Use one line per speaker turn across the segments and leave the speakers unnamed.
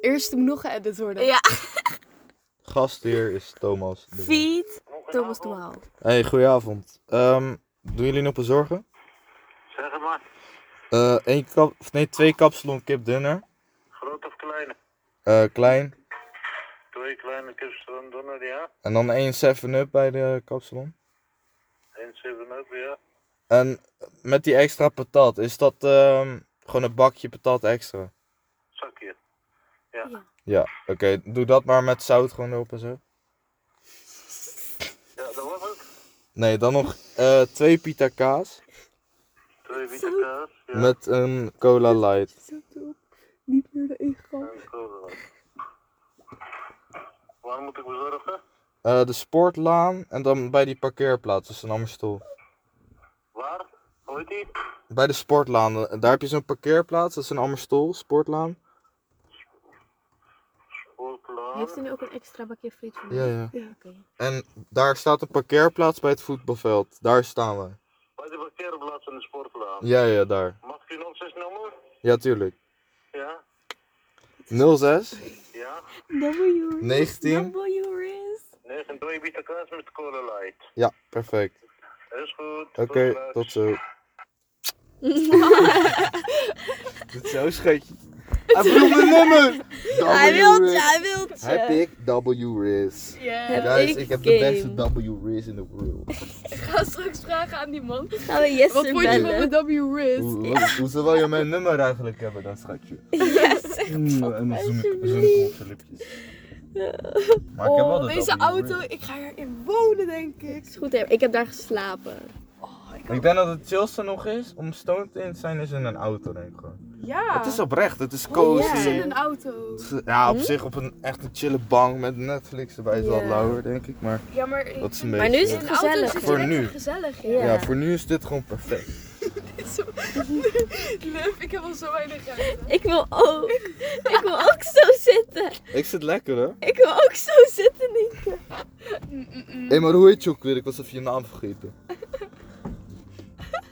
Eerst moet nog geëdit worden.
Ja.
Gastheer is Thomas. de Wijn.
Feed Thomas de Waal.
Hey, goedenavond. Ehm, doen jullie nog bezorgen?
Zeg het maar.
Eh één kap, of nee, twee kapsalon kip dunner.
Groot of kleine?
Eh, klein.
Twee kleine kussens dan doen er, ja.
En dan één 7-up bij de kapsalon.
Eén 7-up, ja.
En met die extra patat, is dat ehm, gewoon een bakje patat extra?
Zakje. Ja.
Ja.
ja.
Ja, oké. Doe dat maar met zout gewoon erop en zo.
dat was het.
Nee, dan nog eh, twee pita kaas
Twee witte kaas. Ja.
met een cola light.
Zet op. Niet meer de ingang.
En kolen. Waar moet ik bezorgen?
Eh, de sportlaan en dan bij die parkeerplaats, dus een Amstel.
Waar? Hoe heet die?
Bij de sportlaan, eh, daar heb je zo'n parkeerplaats, dat is een Ammerstol, sportlaan.
Heeft u
Voorplan.
nu ook een extra bakje friet voor
Ja,
mij?
ja.
Oké.
En daar staat een parkeerplaats bij het voetbalveld. Daar staan we.
Bij de parkeerplaats en de sportplan.
Ja, ja, daar.
Mag ik je 06 nummer?
Ja, tuurlijk.
Ja.
06
Ja.
W.
19.
W. Riz.
Nee, en twee witte kaas met cola light.
Ja, perfect.
Is goed.
Oké,
Tot
tot
straks.
zo. Dit is zo scheetje. Hij bedoelt mijn nummer!
Hij wil je, hij eh, wil je.
Heb ik W-Riz.
Yeah.
Guys,
ik
ik, heb de
game.
beste W-Riz in the world.
Ga straks vragen aan die man.
Gaan we Jester
Wat vond je
bellen?
van mijn W-Riz?
Hoe, hoe, hoe zou je mijn nummer eigenlijk hebben dan, schatje? Oeh, en dan zoom ik, zoom ik op zijn lipjes. Maar ik heb wel
Oh,
de
deze
W-Riz.
auto, ik ga erin wonen, denk ik.
Is goed, hè? ik heb daar geslapen.
Ik denk dat het chillste nog is om stoned in te zijn is in een auto, denk ik gewoon.
Ja.
Het is oprecht, het is
Oh,
cozy.
ja.
in een auto.
Ja, op zich op een echt een chille bank met Netflix erbij is
Ja.
wel lauwer, denk ik. Maar
Ja, maar...
dat is een beetje...
Maar nu is
In
het
een auto
gezellig.
zit
Voor
je
nu.
lekker gezellig in.
Ja.
Ja, voor nu is dit gewoon perfect.
Liv, ik heb al zo weinig ruimte.
Ik wil ook. ik wil ook zo zitten.
Ik zit lekker, hè? Hé,
Ik wil ook zo zitten, Nienke.
maar hoe heet je ook weer? Ik was even je naam vergeten.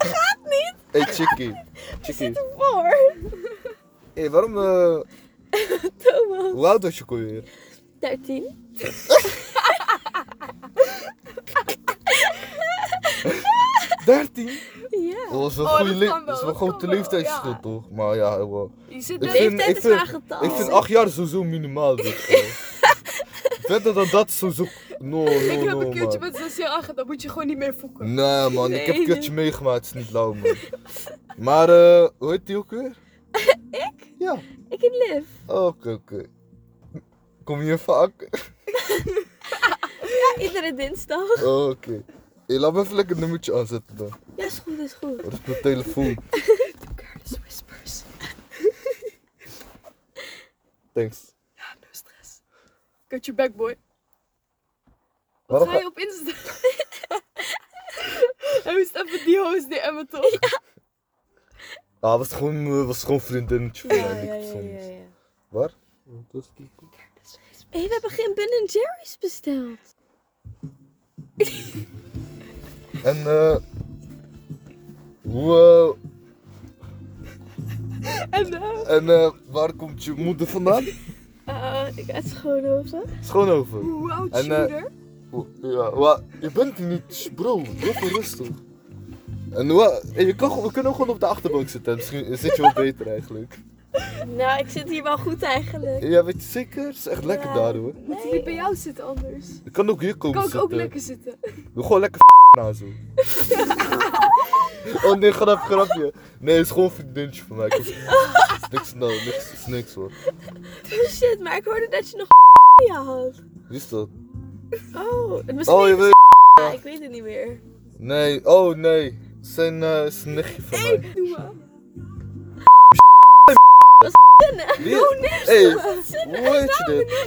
Gaat niet! Hé, hey, Chickie. Chickie.
Voor
Hé, waarom... eh,
Thomas.
hoe oud was je ook weer?
13.
Dertien?
Ja.
Dat was wel
Oh,
goede
dat
le-
kan wel,
dat is wel
dat
een grote
kan wel,
leeftijdsschil,
ja. Oh.
toch? Maar ja, wel.
Je zit
Ik
daar.
vind-
Leeftijd is
vind-
laaggetal.
Ik vind 8 jaar sowieso minimaal. Dit, Verder dan dat is sowieso. No, no,
Ik heb
no,
een keertje
man.
met zes jaar aangedaan, dan moet je gewoon niet meer fokken.
Nee, man, ik heb
Nee.
een keertje meegemaakt, het is niet lauw, man. Maar, eh, hoe heet die ook weer? ik? Ja,
Ik en Liv.
oké, oké. Kom je hier vaak?
Iedere dinsdag.
oké. Hey, laat me even lekker een nummertje aanzetten dan.
Ja, is goed, is goed.
Wat is mijn telefoon?
Curtis Whispers.
Thanks.
Ja, no stress. Cut your back, boy.
Waarom
Ga je op Insta? Hij moest even die host DM'en, toch?
ga- Ah, was gewoon, eh, was gewoon vriendinnetje van mij. niks bijzonders. Waar?
Hé, we hebben geen Ben Jerry's besteld.
En, eh. Hoe, eh,
En nou?
en eh, waar komt je moeder vandaan?
Eh, ik uit Schoonhoven.
Schoonhoven.
Hoe oud is
En,
je
eh,
moeder?
Ja, wat? Je bent hier niet, bro. Wat een rustig. En wat? en je kan, gewoon- we kunnen ook gewoon op de achterbank zitten. Misschien zit je wel beter eigenlijk.
Nou, ik zit hier wel goed eigenlijk.
Ja, weet je zeker? Het is echt lekker
Ja.
daar hoor.
Moet die bij jou zitten anders?
Je kan ook hier komen
Kan ik
zitten.
ook lekker zitten?
Doe gewoon lekker f- na zo. oh nee, grap, grapje. Nee, het is gewoon een vriendinnetje van mij. Ik hoef- Niks, nou, niks, is niks hoor.
Oh shit, maar ik hoorde dat je nog je had.
Wie is dat?
Oh, misschien
Oh, je wil.
ja, ik weet het niet meer.
Nee, oh nee. Zijn, eh is een nichtje van mij.
Doe maar.
Wie? Hey, hoe weet je dit?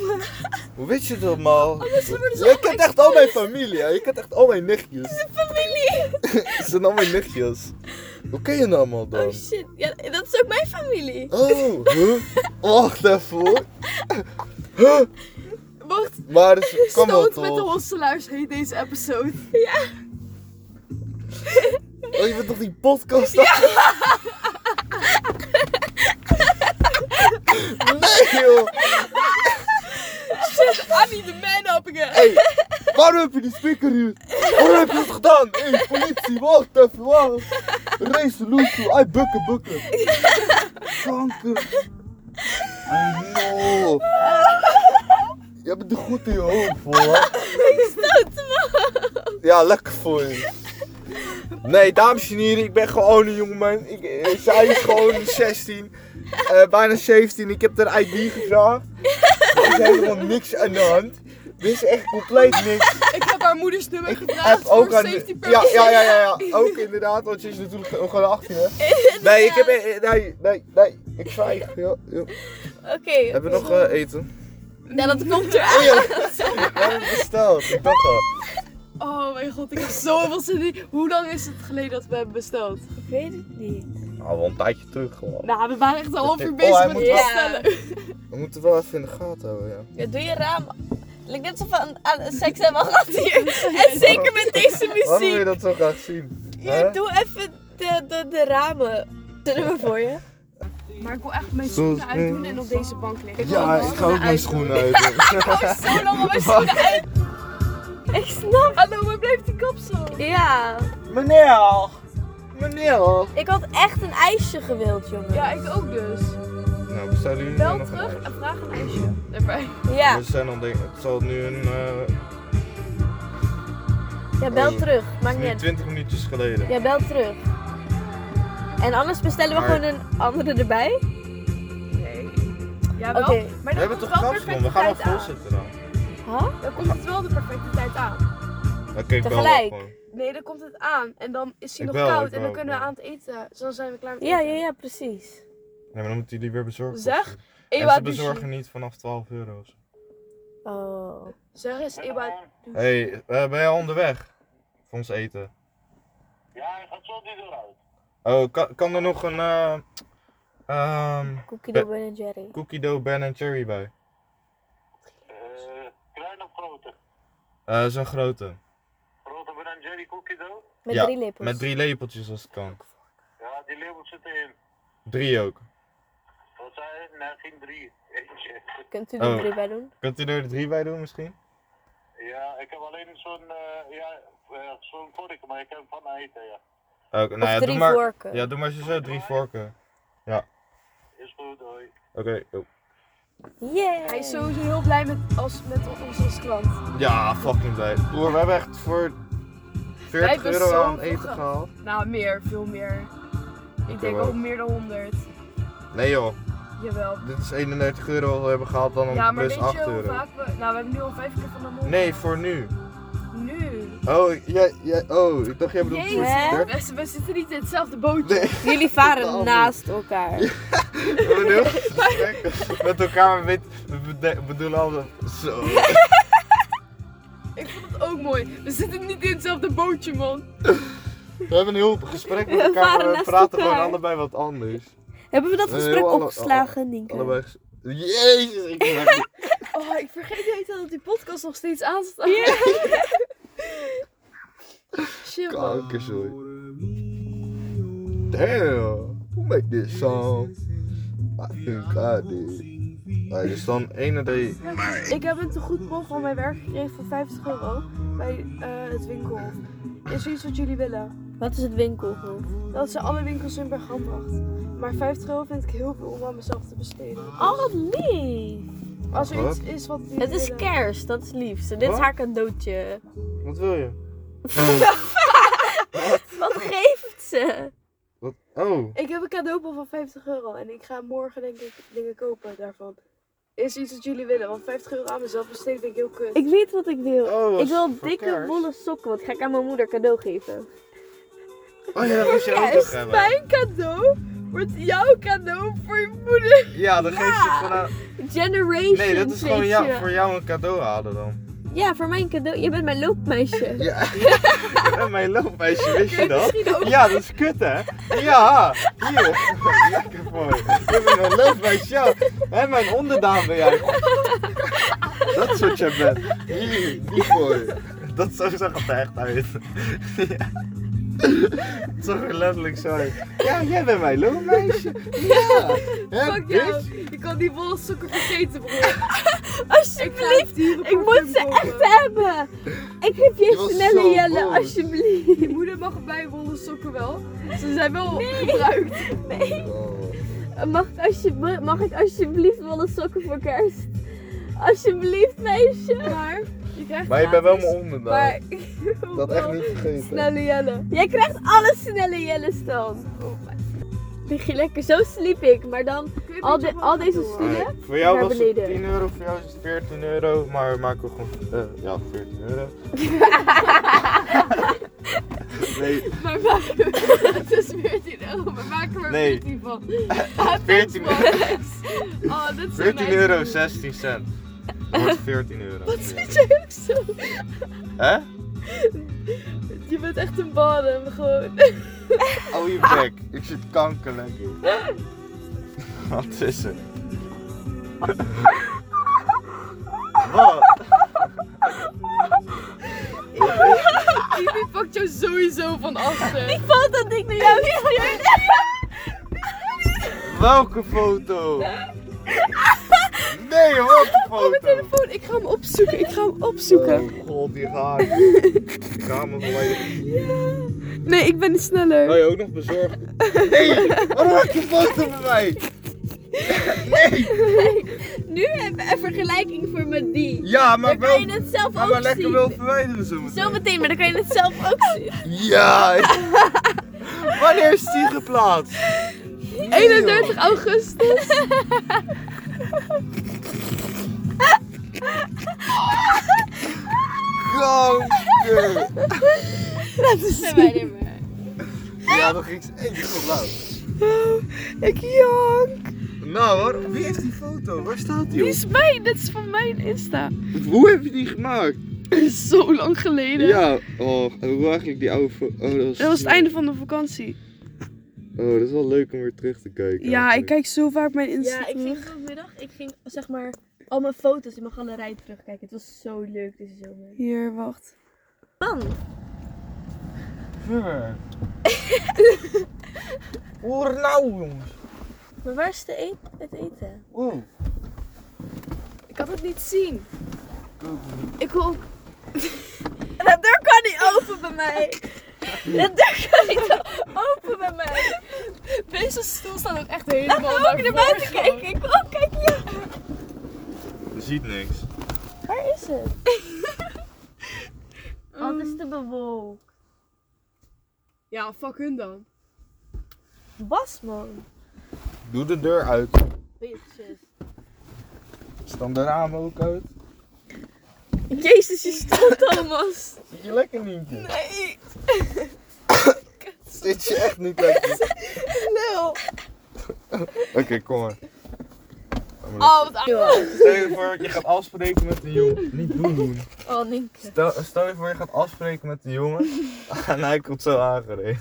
Hoe weet je dit allemaal? Je kent echt al mijn familie, hè? je kent echt al mijn nichtjes. Ze
Familie!
zijn al mijn nichtjes. Hoe ken je nou allemaal
Oh
dan?
shit, ja, dat is ook mijn familie.
Oh, huh? Wacht even hoor.
Wacht,
Maar dus, het kan wel
stoot met de
toch?
hosselaars heet deze episode.
Oh, je bent toch die podcast aan? Nee, joh.
I need the man up again.
Hey, waarom heb je die speaker hier? Waarom heb je dat gedaan? Hé, hey, politie, wacht even, wacht. Race, loesoe, ai, bukken, bukken. Kanker. I know. Je bent er goed in je hoofd, hoor.
Ik stoot hem
Ja, lekker voor je. Nee, dames en heren, ik ben gewoon een jongeman. Ik, eh, zij is gewoon 16, eh, bijna 17. Ik heb haar ID gevraagd. Er is helemaal niks aan de hand. Dit is echt compleet niks.
Ik heb haar moeders nummer
Ik
gevraagd
heb ook
voor
aan.
safety
Ja,
purposes.
ja, ja, ja, ja. Ook inderdaad, want ze is natuurlijk gewoon gewoon 18, hè? Nee, ik heb. eh, Nee, nee, nee. Ik zwijg. Ja, ja.
Oké.
Hebben we nog eh, eten?
Nou, dat komt eruit.
Oh ja, we hebben het besteld. Ik dacht al.
Oh mijn god, ik heb zoveel zin in. Hoe lang is het geleden dat we hebben besteld?
Ik weet het niet.
Nou, wel een tijdje terug gewoon.
Nou, we waren echt een half uur
Oh,
bezig
hij
met
moet
het
wel-
bestellen.
We moeten wel even in de gaten houden, ja.
Ja, doe je raam. Lijkt net alsof we aan, aan seks hebben gehad hier. En zeker met deze
Waarom wil je
muziek.
dat zo graag zien?
Ja, doe even de, de, de ramen. Zullen we voor je?
Maar ik wil echt mijn
Zoals-
schoenen uitdoen en op deze bank liggen.
Ja, ik ga ook mijn schoenen uit.
Oh, Zo lang al mijn schoenen uit.
Ik snap.
Hallo, waar blijft die kapsel?
Ja.
Meneer! Meneer!
Ik had echt een ijsje gewild, jongen.
Ja, ik ook dus.
Nou, we zijn nu
Bel
nog een
terug
ijs.
en vraag een ijsje. Daarbij.
Ja,
We zijn al denk het zal nu een eh,
ja bel
Oh.
terug. Maakt niet
nu
uit.
20 minuutjes geleden.
Ja, bel terug. En anders bestellen we
Maar-
gewoon een andere erbij.
Nee. Ja,
Oké.
wel. Maar
We
dan
hebben
komt
toch
wel
kapsalon? We gaan al
perfecte tijd
vol
aan.
zitten dan.
Huh?
Dan komt het wel de perfecte tijd aan.
Oké, ik bel wel
Tegelijk.
gewoon.
Nee, dan komt het aan. En dan is hij
Ik
nog
wel,
koud.
ik
En
wel,
dan
ik
kunnen we
wel.
aan het eten. Dus dan zijn we klaar met
Ja,
eten.
ja, ja, precies.
Ja, maar dan moet hij die weer bezorgen.
Zeg,
of zo. En
Ewa dus
ze
douchen.
bezorgen niet vanaf 12 euro. of zo.
Oh.
Zeg eens, Ewa.
hey, eh, ben jij onderweg? Voor ons eten.
Ja, hij gaat zo die deur uit.
Oh, kan, kan er nog een eh ehm
Cookie dough Ben Jerry.
cookie dough Ben Cherry bij?
Eh, klein of grote?
Eh Zo'n grote.
Grote Ben Jerry cookie dough?
Met
Ja,
drie lepels.
Met drie lepeltjes als het kan.
Ja, die labels zitten in.
Drie ook.
Wat zei je? Nee, geen drie. Eentje.
Kunt u er
Oh.
drie bij doen?
Kunt u er drie bij doen misschien?
Ja, ik heb alleen zo'n, eh, ja, eh, zo'n vork, maar ik heb hem van eten, ja.
Oké, nou
of
ja,
drie
doe maar,
vorken.
Ja, doe maar zo drie vorken.
Is goed, hoi.
Oké. oh.
Yeah.
Hij is sowieso heel blij met, als, met ons als klant.
Ja, fucking blij. Broer, we hebben echt voor 40
hebben
euro aan
zoveel
eten
geld.
gehaald.
Nou, meer. Veel meer. Ik denk
maar-
wel meer dan 100.
Nee joh,
Jawel.
dit is 31 euro wat we hebben gehaald dan een
Ja, maar
plus
weet
8
je hoe
euro.
vaak we... Nou, we hebben nu al vijf keer van de mond.
Nee, voor nu.
Nu.
Oh, jij, jij, oh, ik dacht jij bedoelt voor
Jezus.
30.
We, we zitten niet in hetzelfde bootje.
Nee,
Jullie
Totaal
varen
niet.
naast elkaar.
we hebben heel veel gesprekken met elkaar, maar weet- we bede- bedoelen allemaal zo.
Ik vond het ook mooi. We zitten niet in hetzelfde bootje, man.
We hebben een heel gesprek met
We
elkaar,
waren
maar we
naast
praten
elkaar.
gewoon allebei wat anders.
Hebben we dat
Nee,
gesprek
heel alle-
opgeslagen, Nienke?
Allebei ges- Jezus, ik ben echt-
Oh, ik vergeet niet dat die podcast nog steeds aanstaat. Shit, man.
Kankerzooi. Damn, who make this song? I think I did. Alright, dus dan 1 en 3.
Ik heb een tegoedbon van mijn werk gekregen voor 50 euro bij eh, het winkelhof. Is er iets wat jullie willen?
Wat is het winkelhof?
Dat zijn alle winkels in Bergambracht. Maar 50 euro vind ik heel veel om aan mezelf te besteden.
Oh, wat lief.
Als er
Wat?
iets is wat jullie
Het is
willen-
kerst, dat is lief. Dit is
Wat?
haar cadeautje.
Wat wil je?
Wat geeft ze?
Wat? Oh,
Ik heb een cadeaubon van 50 euro en ik ga morgen denk ik dingen kopen daarvan. Is er iets wat jullie willen? Want 50 euro aan mezelf besteden vind ik heel kut.
Ik weet wat ik wil.
Oh, dat
ik
is
wil
voor
dikke
kerst.
wollen sokken, want die ga ik aan mijn moeder cadeau geven.
oh ja, dat moest je ook nog
Juist,
hebben.
mijn cadeau wordt jouw cadeau voor je moeder.
Ja, dan geef je het gewoon aan.
Generation.
Nee, dat is gewoon
weet
jou,
je.
voor jou een cadeau halen dan.
Ja, voor mijn cadeau. Je bent mijn loopmeisje.
Ja, mijn loopmeisje, wist je dat?
Misschien ook.
Ja, dat is kut hè? Ja, hier. Lekker voor je. Je bent een leuk meisje. Ja. Hé, mijn onderdaan ben jij. Dat is wat jij bent. Hier, die voor je. Dat zo zag het er echt uit. Ja. Het zag er letterlijk zo uit. Ja, jij bent mijn loonmeisje. Ja. Hè,
Fuck
bitch?
jou. Je kan die wollen sokken vergeten, broer.
Alsjeblieft, ik moet ze
echt.
even hebben. Ik heb
Je
je
was
snelle
zo
jelle,
boos.
alsjeblieft.
Je moeder mag bij wollen sokken wel. Ze zijn wel gebruikt.
Oh.
Mag ik, alsjeblie- mag ik alsjeblieft wollen sokken voor kerst? Alsjeblieft, meisje.
Maar je krijgt
Maar je bent wel
dus
gratis.
mijn onderdaan.
Maar
Dat echt niet vergeten.
Snelle Jelle.
Jij krijgt alle snelle jelles dan. Lig je lekker, zo sliep ik. Maar dan al, de- al deze
Nee,
stoelen.
voor jou
Naar
was het
beneden.
10 euro, voor jou is het 14 euro, maar we maken gewoon. eh, ja, 14 euro. nee,
Maar maken we... Het is 14 euro, maar maken we er
Nee.
14 van.
14,
Oh, dat is
14
nice.
euro 16 cent. Dat wordt 14 euro. Wat zit
Jij ook zo.
Hè?
Je bent echt een bodem, gewoon.
Oh je bek, ik zit kanker lekker. Wat is er? Wat?
Die pakt jou sowieso van achter.
Valt dat ding naar jou stuurde?
Welke foto? Nee, wat een foto?
Gewoon, ik ga hem opzoeken, ik ga hem opzoeken.
Oh god, die raar. Kamer van mij.
Nee, ik ben niet sneller.
je ook nog bezorgd? Nee, waarom heb je een foto van mij?
Nu heb ik een vergelijking voor met die.
Ja, maar
Dan
wel.
kan je het zelf
Maar, maar
ook
lekker
zien.
wel verwijderen zo meteen.
Zometeen, maar dan kan je het zelf ook zien.
Ja. Wanneer is die geplaatst?
31 augustus.
Kanker.
Zijn wij er maar.
Ja, nog iets echt geluid.
Ik jank.
Nou hoor, wie heeft die foto? Waar staat die
Die
op?
is mijn, dit is van mijn Insta.
Hoe heb je die gemaakt?
Zo lang geleden.
Ja, oh, hoe eigenlijk die oude foto? Oh, dat was,
Dat was het einde van de vakantie.
Oh, dat is wel leuk om weer terug te kijken.
Ja, ik
eigenlijk.
kijk zo vaak mijn Insta.
Ja, ik ging vanmiddag, ik ging zeg maar al mijn foto's in mijn galerij terugkijken. Het was zo leuk deze zomer.
Hier, wacht.
Dan,
Ver. Hoor nou jongens.
maar waar is de e- het eten?
Oh.
Ik kan het niet zien. Ik wil...
De deur kan niet open bij mij. De deur kan niet open bij mij.
Deze stoel staat ook echt
Laat me ook naar buiten kijken. Ik wil ook kijken. Ja.
Je ziet niks.
Waar is het? Wat is te bewolkt?
Ja, fuck hun dan.
Was man.
Doe de deur uit.
Bitches.
Staan de ramen ook uit?
Jezus, je stond Thomas.
Zit je lekker Nientje?
Nee,
Zit je echt niet lekker?
lul.
Oké, kom maar.
Oh, wat aan.
Stel je voor, je gaat afspreken met een jongen. Niet doen doen.
Oh, Nienke.
Stel, stel je voor, je gaat afspreken met een jongen. En hij komt zo aangereden.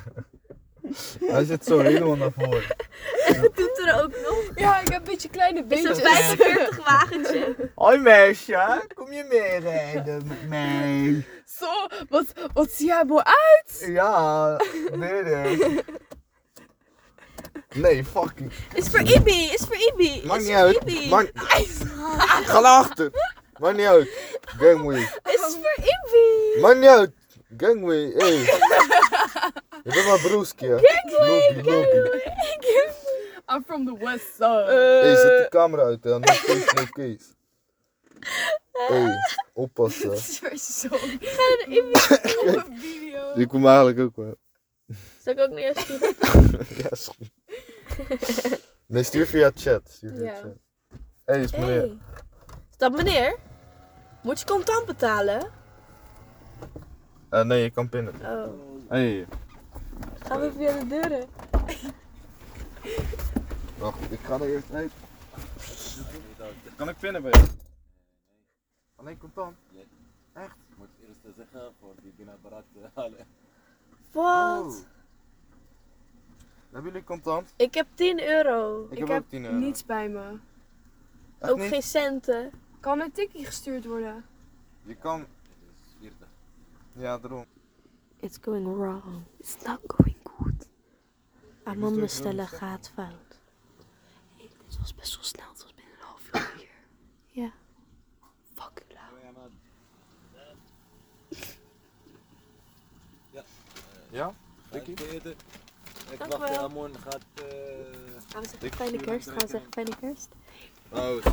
Hij zit zo helemaal naar voren.
Doet er ook nog.
Ja, ik heb een beetje kleine
Is een
beentjes.
45 wagentje.
Hoi meisje, kom je eh, mee rijden met mij?
Zo, wat, wat zie jij Ah! mooi uit?
Ja, weer dit. Nee, fucking.
Is voor Ibi, is voor Ibi.
Maakt
is
niet
voor
uit.
Ibi.
Maakt... Ga naar achter. Maakt niet uit. Gangway.
Is voor Ibi.
Maakt niet uit. Gangway, hey. Je bent mijn broesje. Gangway,
I'm from the west side.
Hé, zet de camera uit, hè. No case, no case. Hé, oppassen.
Sorry.
Ga naar Ibi.
Video.
Die komt eigenlijk ook wel.
Zal ik ook naar jou sturen?
Ja, is goed. Nee, stuur via chat. Stuur via
Ja.
chat. Hé, is meneer.
Hey. Is dat meneer? Moet je contant betalen?
Eh, nee, je kan pinnen.
Oh.
Hé,
Gaan we via de deuren?
wacht, ik ga er eerst uit. Kan ik pinnen bij je? Alleen contant.
Moet ik eerst zeggen voor die binnenapparaat te halen.
Wat?
Oh. Hebben jullie contant?
Ik heb 10 euro.
Ik,
Ik
heb
heb
ook 10 euro.
Niets bij me.
Echt
ook
niet?
geen centen.
Kan een tikkie gestuurd worden?
Je kan,
40.
ja, daarom.
It's going wrong. It's not going good. Amon bestellen gaat fout. Hey, dit was best wel snel. Het was binnen een half uur hier. Ja. Fuck you, Lau.
Ja? Dikkie?
eten. Ik
Dank
wacht,
wel.
Amon gaat... eh,
Gaan we zeggen
Ik
fijne
wil
kerst? Gaan we
drinken.
zeggen fijne kerst?
Oh,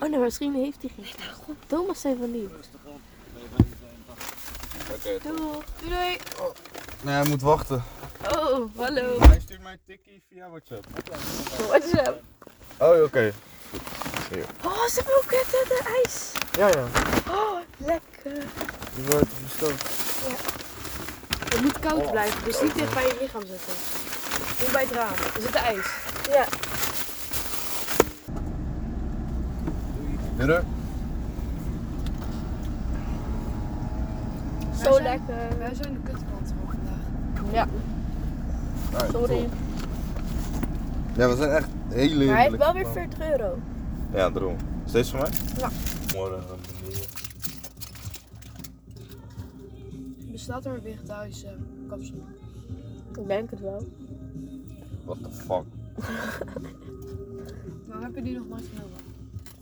Oh nee, misschien heeft hij geen kerst. Thomas zei van die.
rustig op. Nee, maar niet zijn dag.
Doei. Doei, doei.
Nee, hij moet wachten.
Oh, hallo.
Hij stuurt mij een tikkie via WhatsApp.
WhatsApp.
Oh, oké.
Oh, ze hebben ook het, het, het ijs.
Ja, ja.
Oh, lekker.
Die wordt besteld.
Het moet koud blijven, dus niet dicht bij je lichaam zetten. Doe bij het raam. Er zit ijs.
Midden?
Zo lekker.
Wij zijn de kutkant van vandaag.
Sorry.
Ja, we zijn echt heel lelijk.
Maar hij heeft wel weer 40 euro.
Ja, daarom. Is deze voor mij? eh,
Ja.
Morgen, meneer.
Bestaat er een vegetarische kapsel?
Ik denk het wel.
What the fuck?
Waarom heb je die nog nooit genomen?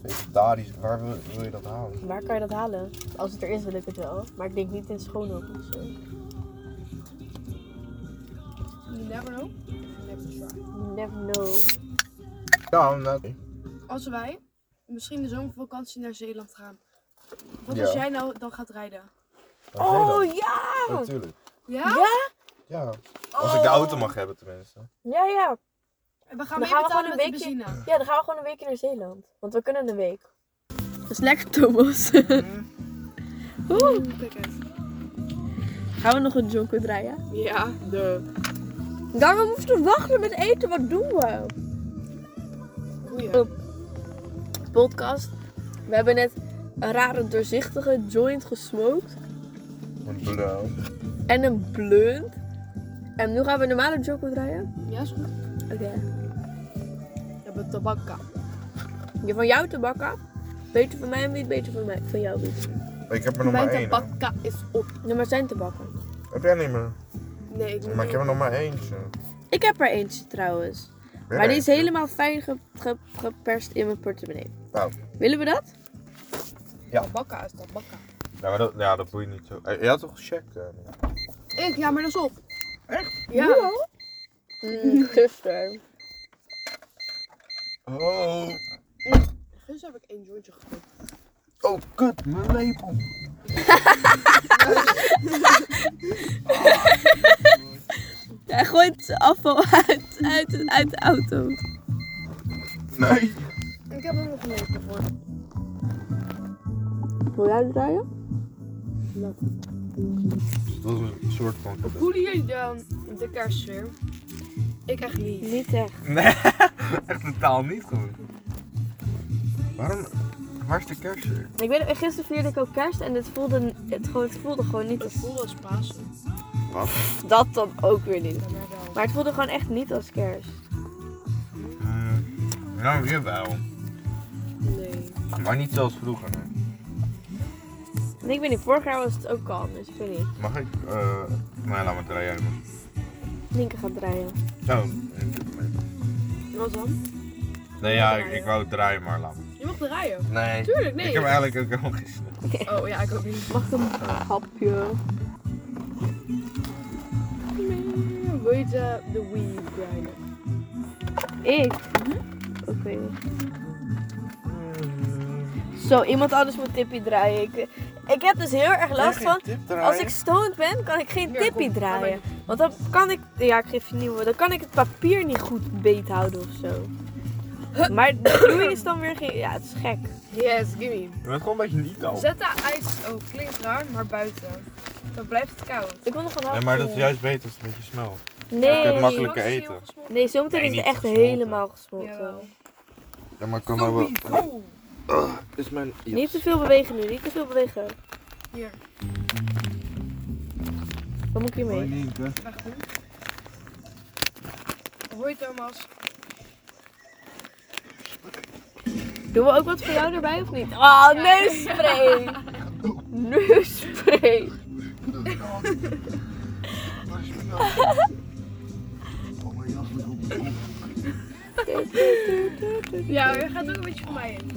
Vegetarisch, waar wil, wil je dat halen?
Waar kan je dat halen? Als het er is, wil ik het wel. Maar ik denk niet in Schoonhoek of zo.
You never know. You never try.
You never know.
Ja, net.
Als wij misschien de zomervakantie naar Zeeland gaan. Wat
Ja.
als jij nou dan gaat rijden?
Oh ja!
Natuurlijk.
Ja?
Ja?
Ja. Als ik de auto mag hebben tenminste.
Ja, ja.
En we gaan
Dan
mee
gaan we
betalen
gewoon
met de
een weekje-
benzine.
Ja, dan gaan we gewoon een weekje naar Zeeland. Want we kunnen een week. Dat is lekker, Thomas.
Oeh, Mm, Kijk uit.
Gaan we nog een jonko draaien?
Ja, de
Daarom moesten we wachten met eten. Wat doen we?
goeie.
Podcast. We hebben net een rare doorzichtige joint gesmoked.
Een blauw.
En een blunt. En nu gaan we een normale jonko draaien.
Ja, is goed.
Oké.
We hebben tabakka.
Die van jou te bakken. Beter van mij een wiet, beter van mij. Van jou wiet.
Ik heb er nog
Mijn
maar één. hè.
tabakka is op.
Ja, maar zijn te bakken.
Heb jij niet meer?
Nee, ik moet
Maar ik heb er nog maar eentje.
Ik heb er eentje trouwens.
Weer
maar die is
eentje.
helemaal fijn ge- ge- geperst in mijn portemonnee.
Nou.
Willen we dat?
tabakka is tabakka.
Ja, maar dat, ja, dat boeit niet zo. Eh, Je had toch een check? eh,
Ik, ja, maar dat is op. Echt? Ja.
Nu al? Mm, gisteren.
Oh.
Gisteren heb ik één jointje gekocht.
Oh, kut. Mijn lepel.
Hij gooit afval uit, uit, uit de auto.
Nee.
Ik heb ook nog een leven voor.
Wil jij draaien?
Dat was een soort van...
Voelen jullie de, de kerstsfeer? Ik echt niet.
Niet echt.
Nee, echt totaal niet goed. Waarom? Waar is de kerst? hier?
Ik weet, nog, gisteren vierde ik ook kerst en het voelde, het, gewoon, het voelde gewoon niet
Het
als...
voelde als Pasen.
Dat dan ook weer niet.
Ja, maar wel.
Maar het voelde gewoon echt niet als kerst.
nou, jawel.
Nee.
Maar niet zoals vroeger. nee.
En ik weet niet, vorig jaar was het ook kalm, dus ik weet niet.
Mag ik? eh nee, laat maar draaien. man.
Linker gaat draaien.
Oh, ik doe het mee.
Wat dan?
Nee, ja, ik, ik wou draaien, maar laat maar.
Je mag draaien.
Nee.
Tuurlijk, nee.
Ik heb eigenlijk ook helemaal gisteren.
Oh ja, ik ook niet.
Mag ik een hapje?
Wil je de, de Wii grinden?
Ik? Mhm. Oké. Zo, iemand anders moet tippie draaien. Ik, ik heb dus heel erg last van. Als ik stoned ben, kan ik geen
Ja,
tippie
kom,
draaien. Want dan kan ik. Ja, ik geef je nieuwe. Dan kan ik het papier niet goed beethouden of zo. Maar de groei is dan weer geen. Ja, het is gek.
Yes, gimme.
Je bent gewoon een beetje niet al.
Zet de ijs, oh klinkt raar, maar buiten. Dan blijft het koud.
Ik wil nog een hapje.
Nee, maar dat is juist beter als het met je smelt.
Nee,
Kun je
nee,
makkelijker eten.
zometeen
Nee,
is het
niet
echt
gesmolten.
helemaal gesmolten.
Jawel.
Ja, maar kan nou wel.
Oh,
Is mijn.
Niet te veel bewegen nu, niet te veel bewegen.
Hier.
Wat moet ik hiermee?
weg goed. Hoi Thomas.
Doen we ook wat voor jou erbij of niet? Oh, neusspray! Neusspray!
Ja, je gaat ook een beetje voor mij in.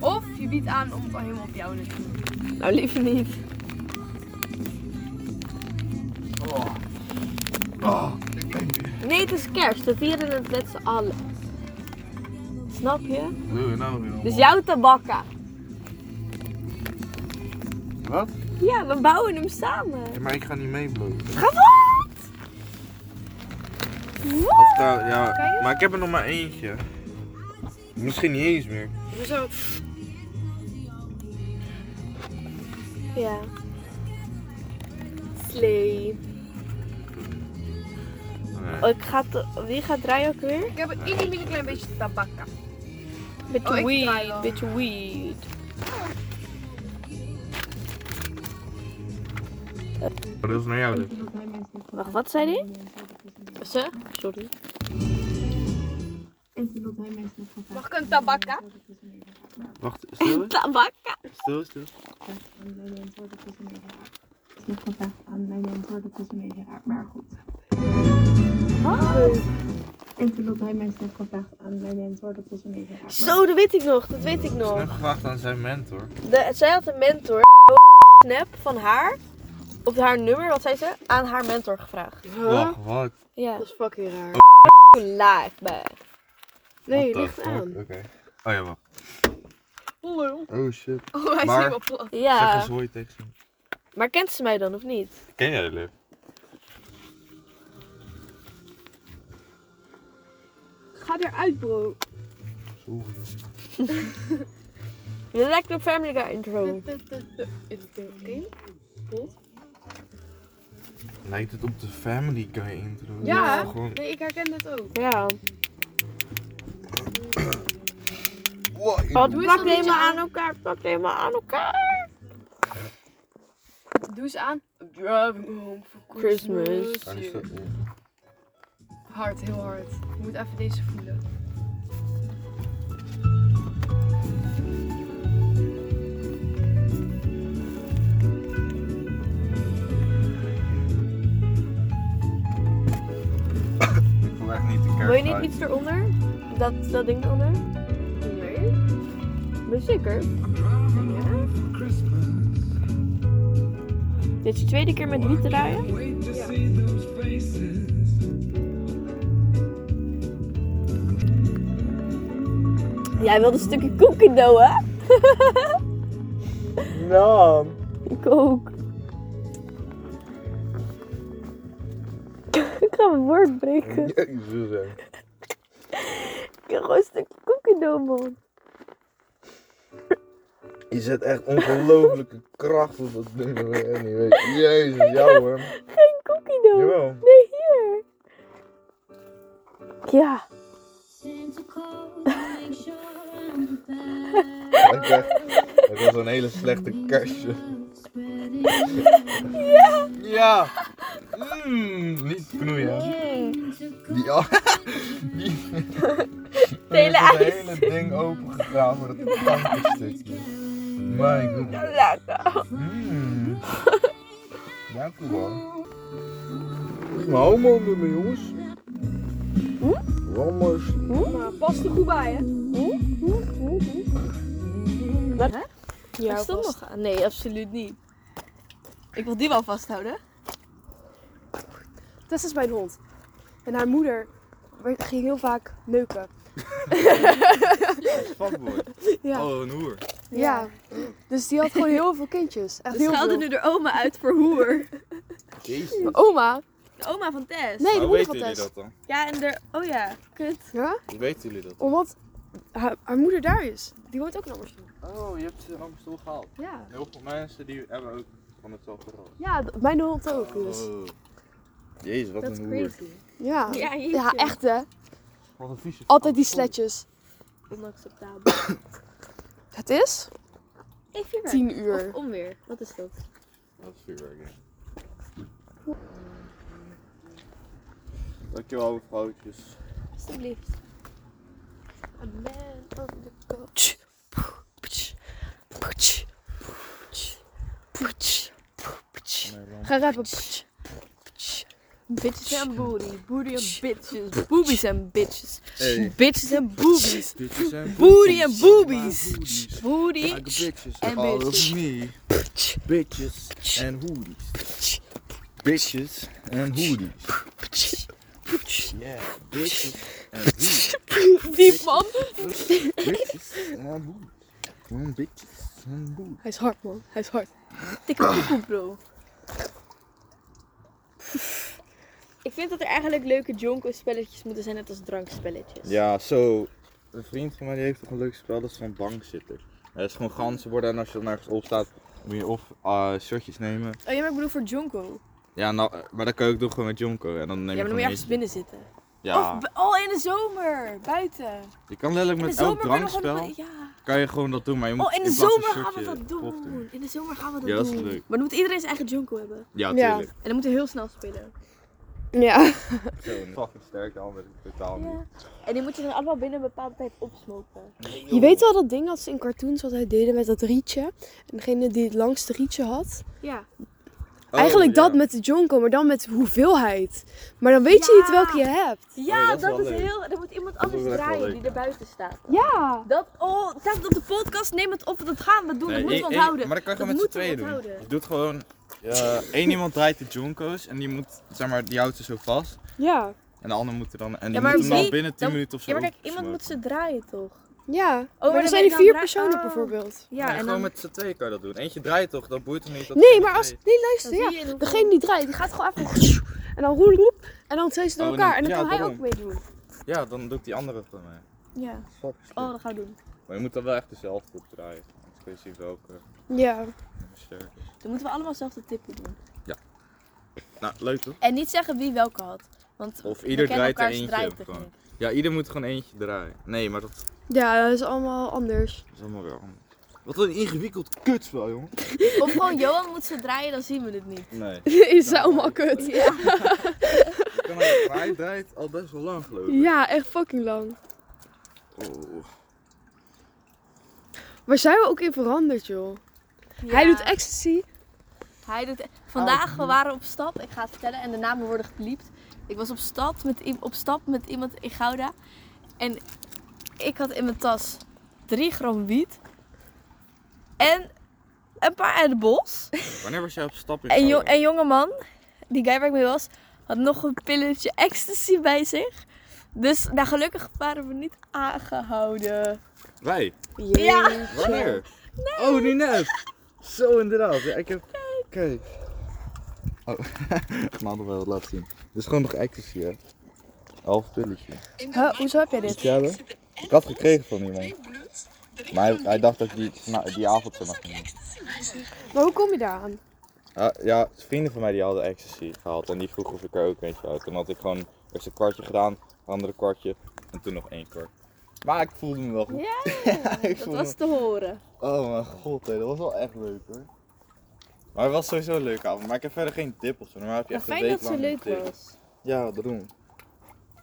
Of je biedt aan om het helemaal op jou te doen.
Nou, liever niet. Nee, het is kerst. We vieren het met z'n allen. Snap je?
Wil je nou weer?
Dus jouw tabakka.
Wat?
Ja, we bouwen hem samen.
Ja, maar ik ga niet meeblozen.
Ga wat?
Of daar- ja, maar ik heb er nog maar eentje. Misschien niet eens meer.
Hoezo?
Ja.
Slee.
Nee.
Oh, ik ga te- Wie gaat draaien ook weer?
Ik heb een ieder mini klein beetje tabakka.
Beetje
Oh, ik draai
weed.
wel.
Beetje weed.
Maar dat is naar jou dus.
Wacht, wat zei die? Ze? Sorry.
Mag ik een tabakka?
Wacht, stil, hè?
Tabakka.
stil, stil.
Oh. Zo, dat weet ik nog. Dat weet ik nog.
Ik heb gevraagd aan zijn mentor.
De, zij had een mentor, snap van haar, op haar nummer, wat zei ze, aan haar mentor gevraagd.
Wacht, wat?
Ja.
Dat is fucking raar.
Live bij.
Nee,
What the
ligt
fuck?
aan.
Oké. Oh ja, wacht. Oh shit.
Oh, hij is
Maar-
helemaal plat.
Zeg
Ja.
eens hoi tegen ze.
Maar kent ze mij dan of niet?
Ken jij Lip?
Ga eruit, bro.
Je lijkt op Family Guy intro.
Is het een kind?
Lijkt het op de Family Guy intro?
Ja,
Dat is Gewoon...
Nee, ik herken dit ook.
Ja.
Wow, ik-
Wat
Doe eens
plakt
een beetje
helemaal aan
aan.
elkaar, plakt helemaal aan elkaar.
Doe eens aan. Driving home for
Christmas.
Christmas.
Waar is dat? Ja.
Hard, heel hard. Je moet even deze voelen.
Ik voel echt niet de kerst.
Wil je niet iets eronder? Dat, dat ding eronder? Nee. Ben je zeker? Dit is je tweede keer met wiet draaien? Jij wilde een stukje koekendough, hè?
Nou,
Ik ook. Ik ga mijn woord breken.
Ja, ik wil zeggen.
Ik heb gewoon een stukje koekendough, man.
Je zet echt ongelooflijke kracht op dat ding dat ik echt niet weet. Jezus, jou hoor.
Geen koekendough.
Jawel.
Nee, hier. Ja.
Ik dacht, Het was een hele slechte kerstje. Ja! Ja! Mm, niet knoeien. Die, a- die,
Het hele
Het
ijs.
hele ding opengegaan voor dat kankerstukje. Mijn god.
Lekker.
Mm. Ja, cool hoor. Moet ik mijn homo onder me, jongens? Rommers.
Maar pas er goed bij, hè?
Ja,
Is dat
nog aan? Nee, absoluut niet. Ik wil die wel vasthouden.
Tess is mijn hond. En haar moeder werd- ging heel vaak neuken.
Fuckboy.
Ja.
Oh, een hoer.
Ja. Dus die had gewoon heel veel kindjes. Echt heel veel.
nu de oma uit voor hoer.
Jezus.
Mijn Oma?
De oma van Tess.
Nee, de
Hoe
moeder van
weten jullie dat
Tess.
dan?
Ja, en de... Oh ja, kut.
Ja?
Hoe weten jullie dat?
Omdat haar, haar moeder daar is. Die woont ook in Amsterdam.
Oh, je hebt ze in Amstel gehaald.
Ja.
Heel veel mensen die hebben ook van hetzelfde gehaald.
Ja, d- mijn hond
Oh.
ook dus.
Jezus, wat een hoer.
Ja.
Oh. Ja, jeetje.
Ja, echt hè.
Wat een vieze.
Altijd die sletjes.
Onacceptabel.
Het is
Ik vind het.
10 uur.
Of onweer. Wat is dat?
Dat is vuurwerk, ja. Dankjewel, mevrouwtjes.
Alsjeblieft.
oh.
Poets. Poets. Poets.
ga rappen. Bitches en booty, booty en bitches, boobies en bitches,
Hey.
bitches en boobies,
Bitches en
booty en boobies,
hoodies.
booty.
Like bitches
and
and all of me. Bitches and hoodies. Bitches and hoodies. Yeah, bitches and hoodies.
Diep man.
Bitches and hoodies. Mm, Bitches and hoodies.
Hij is hard man, hij is hard.
Dikke poepoe, bro. Ik vind dat er eigenlijk leuke jonko-spelletjes moeten zijn, net als drankspelletjes.
Ja, zo. Een vriend van mij die heeft toch een leuk spel, dat is zo'n bankzitter. Dat is gewoon ganzen worden en als je dan ergens op staat, moet je of eh shotjes nemen.
Oh ja, maar ik bedoel voor jonko.
Ja, nou, eh, maar dat kan je ook doen gewoon met Jonko. En dan neem
Ja,
je
maar dan moet je
gewoon
ergens
een
binnen zitten.
beetje- Ja,
Of bu- oh, in de zomer, buiten.
je kan letterlijk
In de
Ah. met elk
zomer ben je nog gewoon...
drankspel,
een- Ja.
kan je gewoon dat doen. Maar je moet
Oh, in de
in plaats van
zomer gaan we
shotje
dat
prof doen.
doen. In de zomer gaan we dat
Ja, dat
doen.
is leuk.
Maar dan moet iedereen zijn eigen jonko hebben.
Ja,
Ja.
tuurlijk.
En dan moeten we heel snel spelen.
Ja.
Zo, fucking sterk, de andere totaal niet.
Ja. En die moet je dan allemaal binnen een bepaalde tijd opsmoken.
Je weet wel dat ding als in cartoons wat hij deden met dat rietje. En degene die het langste rietje had.
Ja.
Oh,
Eigenlijk
ja.
dat met de jonko, maar dan met hoeveelheid. Maar dan weet je
Ja.
niet welke je hebt.
Ja,
Oh, dat is
dat
wel
is
leuk.
heel... Dan moet iemand
Dat
anders
is wel echt wel
draaien
leuk,
die
ja.
er buiten staat.
Ja.
Dat, oh, het staat op de podcast, neem het op, dat gaan we doen,
Nee,
dat moeten we
één- één-
onthouden.
Maar dat kan
Dat
je gewoon met
moeten
z'n
we
tweeën doen.
onthouden.
Je doet gewoon, eh één iemand draait de Jonko's en die moet, zeg maar, die houdt ze zo vast.
Ja.
En de ander moet er dan, en die
maar
moet hem dan
wie-
binnen 10
dan-
minuten of zo
Ja, maar kijk, iemand
opsmoken.
moet ze draaien toch?
Ja.
Oh, maar
maar
dan
dan zijn
ben je
er
dan
vier
dra-
personen
Oh.
bijvoorbeeld.
Ja,
nee,
en
gewoon
dan...
met z'n tweeën kan je dat doen. Eentje draait toch, dat boeit hem niet. Dat
Nee,
twee-
maar als...
twee-
Nee,
dan
luister,
zie
ja.
je hoe-
Degene die draait, die gaat gewoon even... En dan roep, roep. En dan zijn ze door
Oh, en
elkaar.
dan-
En
ja,
dan kan hij
daarom.
ook meedoen.
Ja, dan doet die andere van mij.
Ja. Oh, dat gaan we doen.
Maar je moet dan wel echt dezelfde op draaien. Anders kun je zien welke
Ja.
nummer sterk is.
Dan moeten we allemaal zelf de tippen doen.
Nou, leuk toch?
En niet zeggen wie welke had. Want
Of
we
ieder
kennen
draait er
elkaars
eentje
draait
op
er
gewoon.
niet.
Ja, ieder moet gewoon eentje draaien. Nee, maar dat
Ja, dat is allemaal anders.
is allemaal wel anders. Wat een ingewikkeld kutspel, jongen.
Of gewoon Johan moet ze draaien, dan zien we het niet.
Nee.
is allemaal kut.
Ik kan maar- maar hij draait al best wel lang geloof ik.
Ja, echt fucking lang.
Oh.
Waar zijn we ook in veranderd, joh? Hij
Ja,
doet ecstasy.
Hij doet... Vandaag, we waren op stap, ik ga het vertellen, en de namen worden gepiept. Ik was op, stad met, i- op stap met iemand in Gouda. En ik had in mijn tas 3 gram wiet. En een paar uit de bos.
Wanneer was jij op stap in
En, jo
Gouda?
en jongeman, die guy waar ik mee was, had nog een pilletje ecstasy bij zich. Dus nou, gelukkig waren we niet aangehouden.
Wij?
Ja.
Wanneer? Oh, nu net. Zo inderdaad. Ja, ik heb... Oké. Oh, ik ga nog wel wat laten zien. Dit is gewoon nog ecstasy, hè. Half pilletje.
hoezo heb jij
Moet ik hebben? Ik had gekregen van iemand. Maar hij, hij dacht dat ik die, na- die avond zou mag nemen.
Maar hoe kom je daar aan?
Ja, Ah, ja, vrienden van mij die hadden ecstasy gehaald en die vroegen of ik er ook eentje uit. Toen had ik gewoon eerst een kwartje gedaan, een andere kwartje en toen nog één kwart. Maar ik voelde me wel goed.
Ja,
ik
Dat
voelde
was te horen.
me- Oh mijn god, hé, dat was wel echt leuk hoor. Maar het was sowieso een leuke avond. Maar ik heb verder geen dip of zo. Normaal heb je
Maar
echt een
fijn
week
dat ze
lang een
leuk
dip.
was.
Ja, daarom.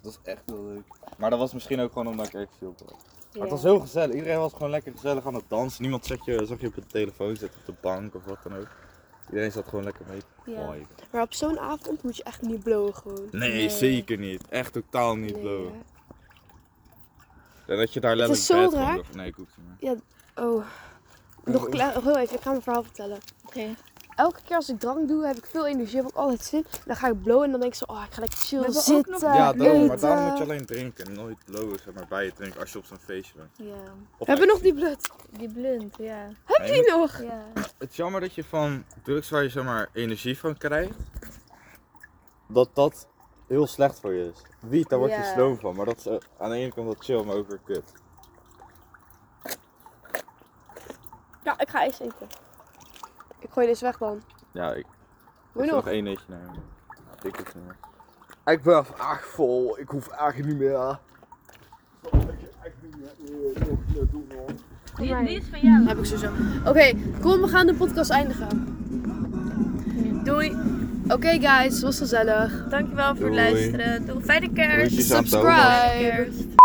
Dat was echt heel leuk. Maar dat was misschien ook gewoon omdat ik ecstasy op had. Maar het was heel gezellig. Iedereen was gewoon lekker gezellig aan het dansen. Niemand zag je, zag je op de telefoon zitten, op de bank of wat dan ook. Iedereen zat gewoon lekker mee te
Ja.
gooien.
Maar op zo'n avond moet je echt niet blowen gewoon.
Nee, zeker niet. Echt totaal niet
Nee,
blowen.
ja.
En dat je daar
Het
letterlijk
is zo
bed van
raar.
ligt. Nee, ik hoef het niet meer.
Oh. Nog klaar. Heel even, ik ga mijn verhaal vertellen.
Oké.
Elke keer als ik drank doe, heb ik veel energie, heb ik altijd zin. Dan ga ik blowen en dan denk ik zo, oh, ik ga lekker chill
We hebben ook
zitten.
nog-
Ja, daarom, maar
eten.
daarom moet je alleen drinken. Nooit blowen, zeg maar, bij je drinken als je op zo'n feestje bent.
Ja.
Of
Hebben we
ecstasy.
nog die blut?
Die blunt, ja.
Nee,
Heb
je
je nog?
Ja.
moet- Het is jammer dat je van drugs waar je zeg maar energie van krijgt, dat dat heel slecht voor je is. Wiet, daar word je
Ja.
sloom van. Maar dat is eh, aan de ene kant wel chill, maar ook weer kut.
Ja, ik ga eens eten.
Ik gooi deze weg dan.
Ja, ik
Hoe
ik zal
nog?
nog één eentje nemen. Ik hoef niet meer.
Ik ben echt vol. Ik hoef echt niet meer.
Die, die is van jou.
Heb ik zo zo. Oké, kom, we gaan de podcast eindigen.
Doei.
Oké guys, was gezellig.
Dankjewel voor het
Doei.
luisteren. Doei. Fijne kerst.
Groetjes aan Thomas.
Subscribe.
Kerst.